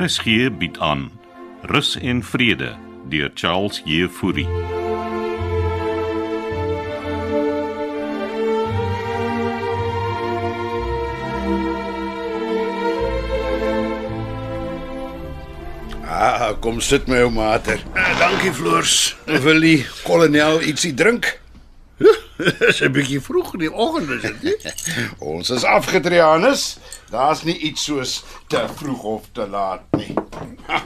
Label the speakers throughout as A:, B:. A: RSG bied aan Rus en Vrede deur Charles Jefouri.
B: Ah, kom sit my ou mater.
C: Eh, Dankie Floors.
B: Wil die kolonel ietsie drink?
C: Dis 'n bietjie vroeg in die oggend is dit nie?
B: Ons is afgetreanes. Daar's nie iets soos te vroeg of te laat nie. Ha,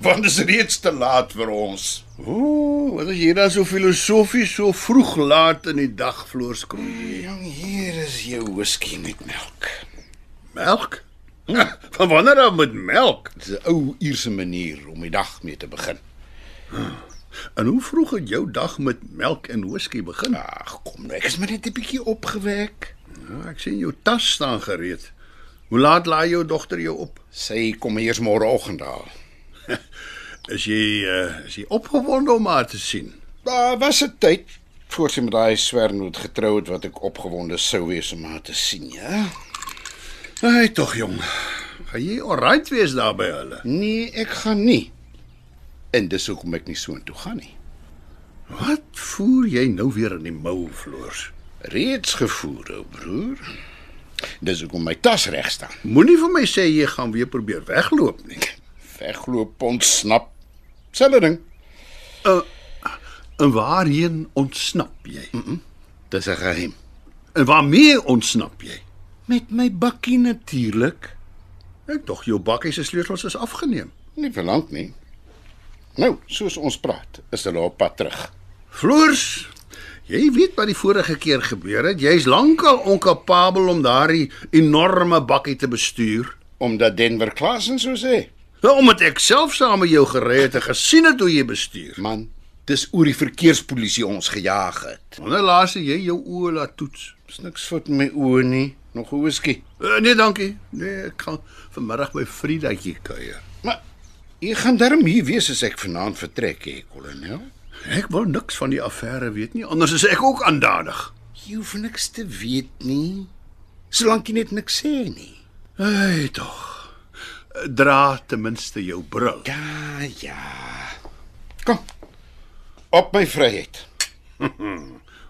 B: Want dit is reeds te laat vir ons.
C: Ooh, wat as jy dan so filosofies so vroeg laat in die dag Floors kom.
B: Jong, hier is jou whisky met melk.
C: Melk? Van wanneer af met melk?
B: Dis 'n ou Ierse manier om die dag mee te begin.
C: En hoe vroeg het jou dag met melk en whisky begin?
B: Ag, kom nou, ek is maar net 'n bietjie opgewek.
C: Nou, ek sien jou tas staan gereed. Hoe laat laai jou dogter jou op?
B: Sy kom eers môreoggend haal.
C: Is jy uh, is jy opgewonde om haar te sien?
B: Daar was 'n tyd voor sy met daai swernhoed getrou het wat ek opgewonde sou wees om haar te sien, ja.
C: Ai, tog jong. Gaan jy alright wees daar by hulle?
B: Nee, ek gaan nie. En dis hoekom ek nie soontoe gaan nie.
C: Wat voer jy nou weer in die mou, Floors?
B: Reeds gevoer, ou broer. Dis hoekom my tas reg staan.
C: Moenie vir my sê jy gaan weer probeer wegloop nie.
B: Wegloop ontsnap. Selfe ding.
C: Eh, En waarheen ontsnap jy? Mm -mm.
B: Dis 'n geheim.
C: En waarmee ontsnap jy?
B: Met my bakkie natuurlik.
C: Ek dog Nou, jou bakkie se sleutels is afgeneem.
B: Nie verlang nie. Nou, soos ons praat, is hulle op pad terug.
C: Floors, jy weet wat die vorige keer gebeur het. Jy's lankal onkapabel om daardie enorme bakkie te bestuur.
B: Omdat Denver Klassen so sê.
C: Nou, Omdat ek self saam met jou gery het en gesien het hoe jy bestuur.
B: Man, dis oor die verkeerspolisie ons gejaag het.
C: Wanneer laas het jy jou oë laat toets?
B: Dis niks fout met my oë nie. Nog 'n whisky.
C: Uh, nee, dankie. Nee, ek gaan vanmiddag by Friedatjie kuier.
B: Maar jy gaan darm hier wees as ek vanaand vertrek, hè, kolonel.
C: Ek wil niks van die affære weet nie, anders is ek ook aandadig.
B: Jy hoef niks te weet nie. Solank jy net niks sê nie.
C: Ai, tog. Dra ten minste jou bril.
B: Ja, ja. Kom. Op my vryheid.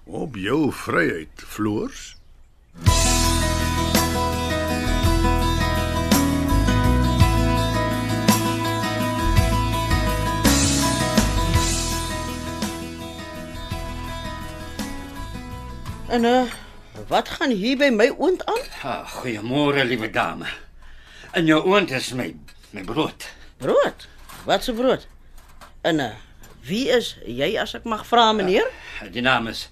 C: Op jou vryheid, Floors.
D: En uh, wat gaan hier by my oond aan?
E: Ah, goeiemôre, liewe dame. In jou oond is my my brood.
D: Brood. Wat se brood? En uh, wie is jy as ek mag vra, meneer?
E: Die naam is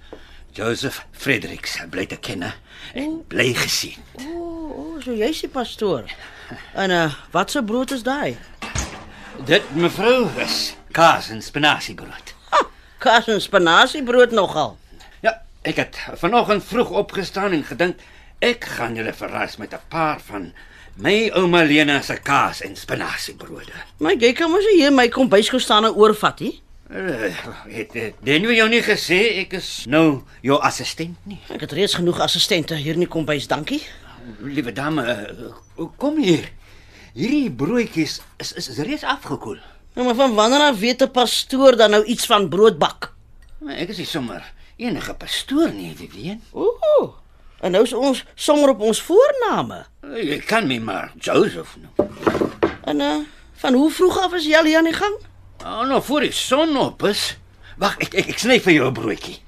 E: Joseph Fredericks. Hy bly te ken hè? en bly gesien.
D: O, oh, oh, so jy's die pastoor. En uh, wat se brood is daai?
E: Dit mevrou is kaas en spinasiebrood.
D: Ah, kaas en spinasiebrood nogal.
E: Ja, ek het vanoggend vroeg opgestaan en gedink ek gaan julle verras met 'n paar van my ouma Lena se kaas en spinasiebrode.
D: Maar jy kan mos nie hier my kombuis gaan staan en oorvat nie.
E: Uh, het het Denwe jou nie gesê ek is nou jou assistent nie?
D: Ek het reeds genoeg assistente hier in die kombuis, dankie.
E: Liewe dame, eh, kom hier. Hierdie broodjies is is, is reeds afgekoel.
D: Nou maar van wanneer af weet 'n pastoor dan nou iets van brood bak?
E: Maar Nee, ek is nie sommer enige pastoor nie, Vivien.
D: Ooh. En nou is ons sommer op ons voorname.
E: Jy kan my maar Joseph noem.
D: En uh, van hoe vroeg af is jy al hier aan die gang?
E: Oh, nou voor die son op is. Wag, ek ek, ek sny vir jou 'n broodjie.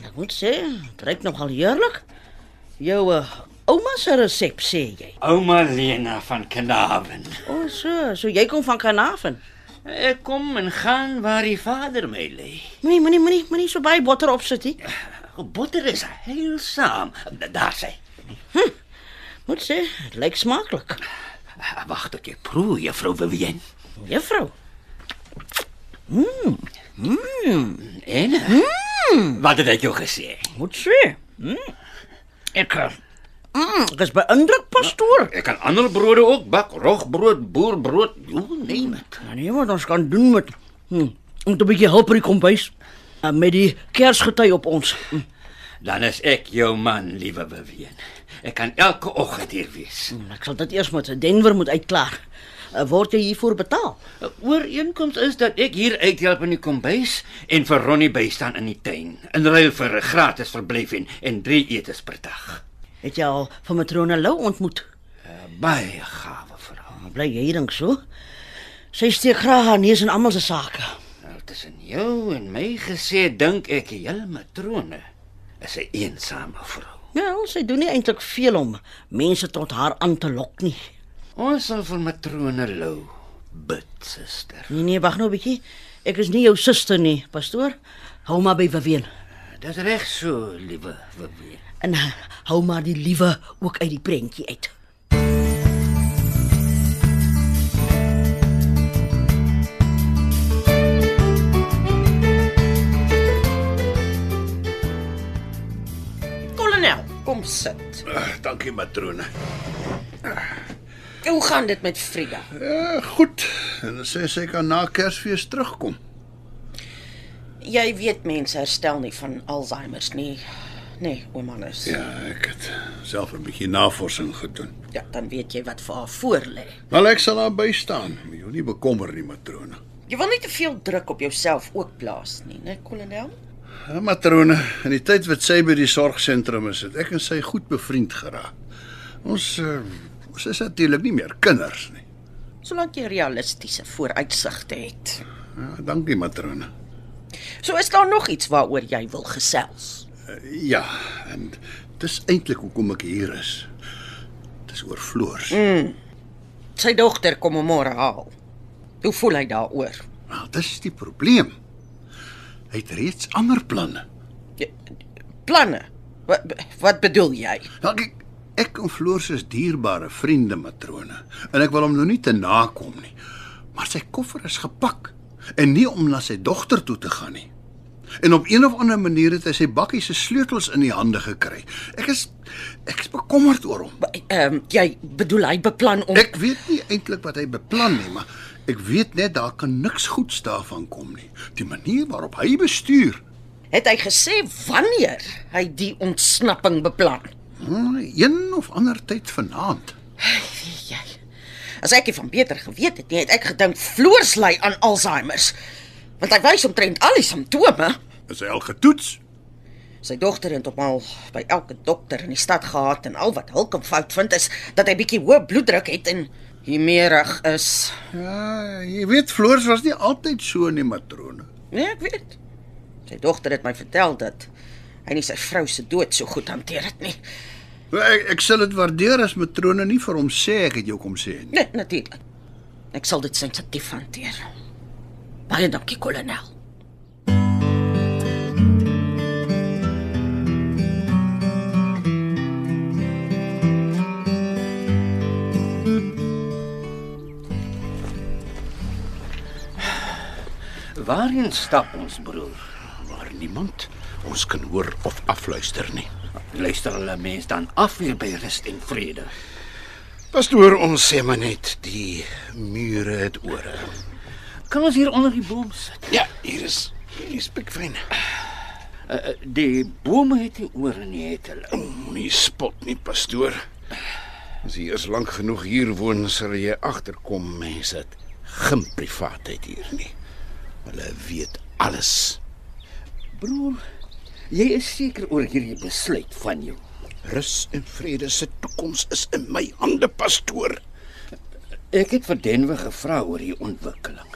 D: En ek moet sê, dit ruik nogal heerlik. Jou uh, ouma se resep sê jy.
E: Ouma Lena van Kanaven.
D: O, oh, so, so jy kom van Kanaven.
E: Ek kom en gaan waar die Vader my lei.
D: Moenie moenie moenie moenie so baie botter opsit nie.
E: Botter is heilsaam. Daar sê.
D: Moet sê, dit lyk smaaklik.
E: Wag Ah, tot jy proe, juffrou Vivien.
D: Juffrou,
E: En mm. wat het ek jou gesê?
D: moet sê. Hm? Ek uh, mm, ek is beïndruk pastoor.
E: Ek kan ander brode ook bak, rogbrood, boerbrood, hoe neem dit.
D: Nou nee, wat ons kan doen met hm, om 'n bietjie help by die kombuis uh, met die kersgety op ons. Hm.
E: Dan is ek jou man, liewe Beween. Ek kan elke oggend hier wees.
D: Ek sal dit eers met Denver moet uitklaar.
F: eh, word jy hiervoor betaal.
E: Ooreenkoms is dat ek hier uithelp in die kombuis en vir Ronnie bystaan in die tuin in ruil vir 'n gratis verblyf en en 3 etes per dag.
F: Het jy al van matrone Lou ontmoet?
E: Eh, Baie gawe verhaal.
F: Bly jy dink so? Sy steek graag haar neus in almal se sake.
E: Nou tussen jou en my gesê dink ek die hele matrone is 'n eensame vrou.
F: Ja, sy doen nie eintlik veel om mense tot haar aan te lok nie.
E: Ons sal vir matrone Lou bid, suster.
F: Nee nee, wag nou 'n bietjie. Ek is nie jou suster nie, pastoor. Hou maar by Waween
E: Dis reg so, liewe Wibbie.
F: en eh, hou maar die liewe ook uit die prentjie uit.
D: Kolonel, kom sit.
C: Uh, dankie matrone.
D: Hoe gaan dit met Frida?
C: Uh, goed. Hulle sê sy kan na Kersfees terugkom.
D: Jy weet mense herstel nie van Alzheimer nie. Nee, ouma Nus.
C: Ja, ek het self 'n bietjie navorsing gedoen.
D: ja, dan weet jy wat vir haar voor lê.
C: Wel ek sal daar by staan. Moenie jou nie bekommer nie, matrone.
D: Jy wil nie te veel druk op jouself ook plaas nie, né, kolonel?
C: Ja, matrone, in die tyd wat sy by die sorgsentrum is, het ek en sy goed bevriend geraak. Ons uh, ons is natuurlik nie meer kinders nie.
D: Solank jy realistiese vooruitsigte het.
C: Ja, dankie matrone.
D: So is daar nog iets waaroor jy wil gesels.
C: Ja, en dis eintlik hoekom ek hier is. Dis oor floors.
D: Sy dogter kom hom môre haal. Hoe voel hy daaroor?
C: Nou, dis die probleem. Hy het reeds ander planne.
D: Jy- Planne. Wat wat bedoel jy?
C: Nou, ek ek en Floors is dierbare vriende matrone en ek wil hom nou nie te nakom nie. Maar sy koffer is gepak en nie om na sy dogter toe te gaan nie. En op een of ander manier het hy sy bakkie se sleutels in die hande gekry. Ek is ek is bekommerd oor hom.
D: Ehm um, jy bedoel hy beplan om
C: Ek weet nie eintlik wat hy beplan nie, maar ek weet net daar kan niks goeds daarvan kom nie. Die manier waarop hy bestuur.
D: Het hy gesê wanneer hy die ontsnapping beplan?
C: Hmm, een of ander tyd vanaand.
D: Weet Jy. As ek nie van beter geweet het nie, het ek gedink Floors ly aan Alzheimer. Want hy wys omtrent al die simptome.
C: Is hy al getoets?
D: Sy dogter het hom al by elke dokter in die stad gehad en al wat hulp en fout vind is dat hy bietjie hoë bloeddruk het en humeurig is.
C: Ja, jy weet Floors was nie altyd so nie, matrone.
D: Nee, ek weet. Sy dogter het my vertel dat hy nie sy vrou se dood so goed hanteer het nie.
C: Nou, Ek ek sal dit waardeer as matrone nie vir hom sê ek het jou kom sê nie.
D: Nee, natuurlik. Ek sal dit sensitief hanteer. Baie dankie, kolonel.
E: Waarheen stap ons broer?
C: Maar niemand ons kan hoor of afluister nie.
E: Luister hulle mens dan af hier by rus en vrede.
G: Pastoor, ons sê maar net die mure het ore.
E: Kan ons hier onder die boom sit?
G: Ja, hier is hier is pikfyn.
E: Uh, die bome het nie ore nie het hulle.
G: Moenie spot nie, pastoor. As jy eers lank genoeg hier woon, sal jy agterkom mense het geen privaatheid hier nie. Hulle weet alles.
E: Broer, jy is seker oor hierdie besluit van jou.
G: Rus en vrede se toekoms is in my hande, pastoor.
E: Ek het vir Denwe gevra oor die ontwikkeling.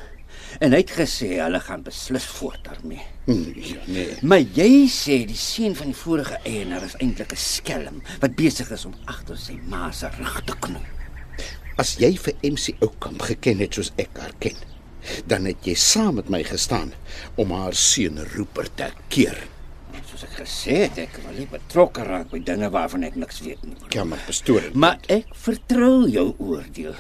E: En hy het gesê hulle gaan beslis voort daarmee.
G: Nee, nee.
E: Maar jy sê die seun van die vorige eienaar is eintlik 'n skelm wat besig is om agter sy ma se rug te knoop.
G: As jy vir MC Oukamp geken het soos ek haar ken, dan het jy saam met my gestaan om haar seun Rupert te keer.
E: Soos ek gesê het, ek wil nie betrokke raak by dinge waarvan ek niks weet nie.
G: Ja, maar pastoor.
E: Maar ek vertrou jou oordeel.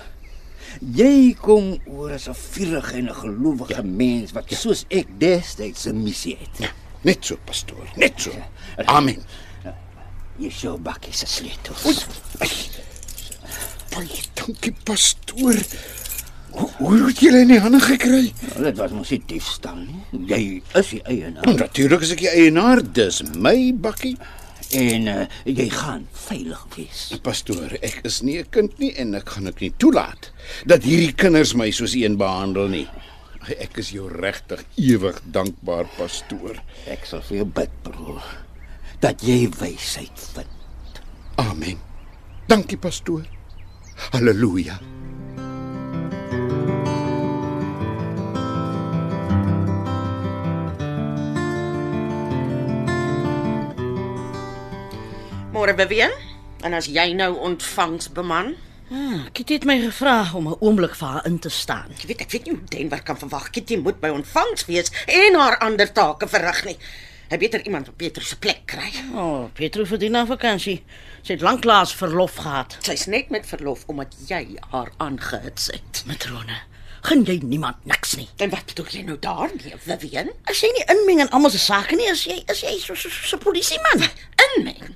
E: Jy kom oor as 'n vurige en 'n gelowige ja. mens wat ja. soos ek destyds 'n missie het. Ja.
G: Net so, pastoor. Net so. Amen.
E: Jy sou bakkie se sleutels.
G: Baie dankie, pastoor. Hoe hoe het jy hulle in die hande gekry?
E: Nou, dit was mos nie
G: Nou,
E: diefstal nie. Jy is die eienaar.
G: Natuurlik is ek die eienaar, dis my bakkie.
E: en uh, jy gaan veilig wees.
G: Pastoor, ek is nie 'n kind nie en ek gaan ook nie toelaat dat hierdie kinders my soos een behandel nie. Ek is jou regtig ewig dankbaar, pastoor.
E: Ek sal vir jou bid, broer, dat jy wysheid vind.
G: Amen. Dankie, pastoor. Halleluja.
D: Môre Vivian, en as jy nou ontvangs beman,
F: Ah, Kitty het my gevra om 'n oomblik vir haar in te staan.
D: ek weet ek weet nie hoe Denver kan verwag Kitty moet by ontvangs wees en haar ander take verrig nie. Hy beter iemand op Petrus se plek kry.
F: O, oh, Petro verdien 'n vakansie. Sy het lanklaas verlof gehad.
D: Sy's net met verlof omdat jy haar aangehits het.
F: Matrone, gun jy niemand niks nie.
D: En wat bedoel jy nou daarmee, Vivian?
F: As jy nie inmeng in almal se sake nie, is jy is jy so so 'n so, so polisieman.
D: Inmeng.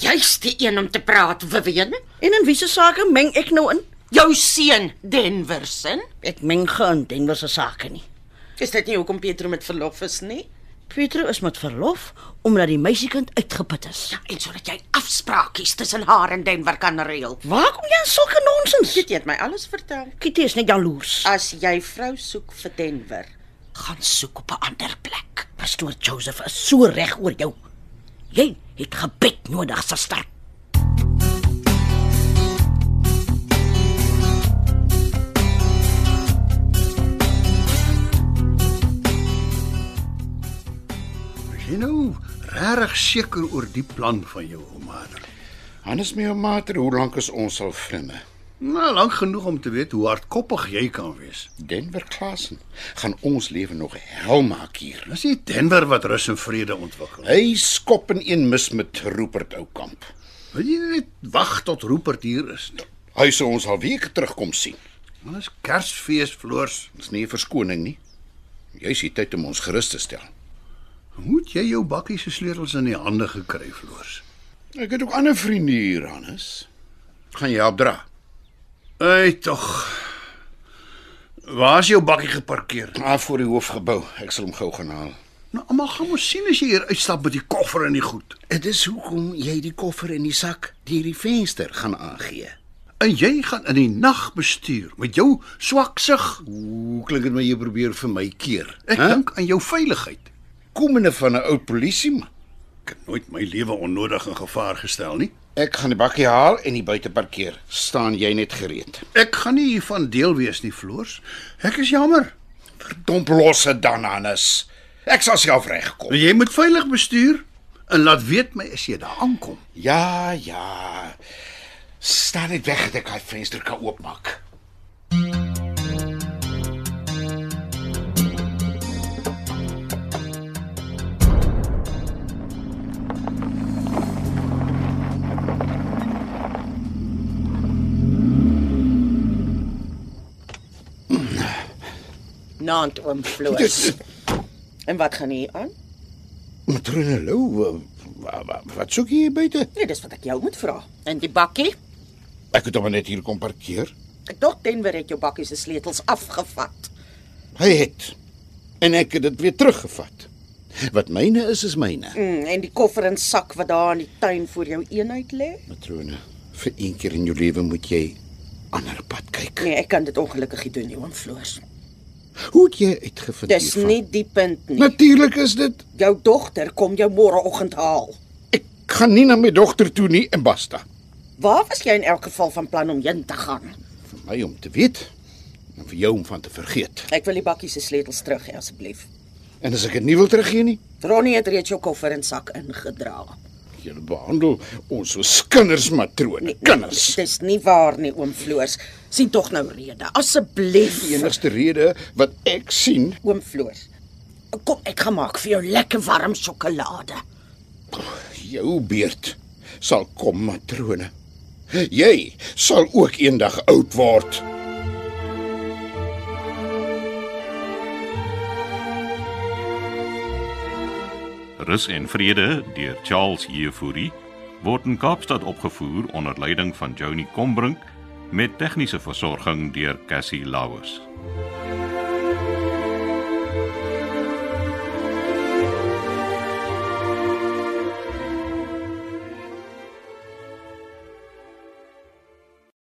D: Jy's die een om te praat, Vivian.
F: En in wiese sake meng ek nou in?
D: Jou seun Denverson.
F: Ek meng geen Denver se sake nie.
D: Is dit nie hoekom Pietro met verlof is nie?
F: Petro is met verlof omdat die meisiekind uitgeput is.
D: En sodat jy afspraakies tussen haar en Denver kan reël.
F: Waar kom jy aan sulke nonsens?
D: Dit het my alles vertel.
F: Kitty is net jaloers.
D: As jy vrou soek vir Denver, gaan soek op 'n ander plek.
F: Pastoor Joseph is so reg oor jou. Jy het gebed nodig, suster.
C: Is jy nou regtig seker oor die plan van jou, Omader?
G: Hannes my mater, hoe lank is ons al vriende?
C: Nou, lank genoeg om te weet hoe hardkoppig jy kan wees.
G: Denver Klasen gaan ons lewe nog hel maak hier.
C: Dis nie Denver wat rus en vrede ontwikkel.
G: Hy skop in een mis met Rupert Oukamp.
C: Wil jy nie net wag tot Rupert hier is nie?
G: Hy sou ons al weke terugkom sien.
C: Dan is Kersfees floors.
G: Dis nie 'n verskoning nie. Jy's hier tyd om ons gerus te stel.
C: Moet jy jou bakkie se sleutels in die hande gekry floors?
G: Ek het ook ander vriende hier, Hannes. Gaan jy help dra?
C: Ai tog. Waar is jou bakkie geparkeer?
G: Af voor die hoofgebou. Ek sal hom gou gaan haal.
C: Nou almal gaan mos sien as jy hier uitstap met die koffer en die goed.
G: Dit is hoekom jy die koffer in die sak deur die venster gaan aangee.
C: En jy gaan in die nag bestuur met jou swak sig.
G: Hoe klink dit my jy probeer vir my keer?
C: Ek huh? dink aan jou veiligheid.
G: komende van 'n ou polisieman.
C: Ek het nooit my lewe onnodig in gevaar gestel nie.
G: Ek gaan die bakkie haal en die buite parkeer. Staan jy net gereed.
C: Ek gaan nie hiervan deel wees nie, Floors. Ek is jammer.
G: Domp los dit dan Hannes. Ek sal self regkom.
C: Jy moet veilig bestuur en laat weet my as jy daar aankom.
G: Ja, ja. Staan net weg dat ek daai venster kan oopmaak.
D: Naand oom Floors. en wat gaan hier aan?
G: Matrone Lou, wa- wa- wat soek jy hier buite?
D: Nee, dis wat ek jou moet vra. En die bakkie?
G: Ek het hom net hier kom parkeer.
D: Ek dink Denver het jou bakkie se sleutels afgevat.
G: Hy het. En ek het dit weer teruggevat. Wat myne is, is myne.
D: Mm, en die koffer en sak wat daar in die tuin voor jou eenheid lê?
G: Matrone, vir een keer in jou lewe moet jy ander pad kyk.
D: Nee, ek kan dit ongelukkig nie doen nie, oom Floors.
G: Hoe het jy uitgevind
D: Dis
G: hiervan?
D: nie die punt nie.
G: Natuurlik is dit.
D: Jou dogter kom jou môreoggend haal.
G: Ek gaan nie na my dogter toe nie en basta.
D: Waar was jy in elk geval van plan om heen te gaan?
G: Vir my om te weet en vir jou om van te vergeet.
D: Ek wil die bakkie se sleutels terug hê asseblief.
G: En as ek dit nie wil teruggee nie,
D: Ronnie het reeds jou koffer en sak ingedra.
G: jy behandel ons soos kinders matrone, kinders.
D: Nee, Dis nie waar nie, oom Floors. Sien tog nou rede. Asseblief,
G: Die enigste rede wat ek sien,
D: oom Floors. Kom, ek gaan maak vir jou lekker warm sjokolade.
G: jou beurt sal kom matrone. Jy sal ook eendag oud word.
A: Rus en Vrede deur Charles Jefouri word in Kaapstad opgevoer onder leiding van Johnny Combrink met tegniese versorging deur Cassie Lauers.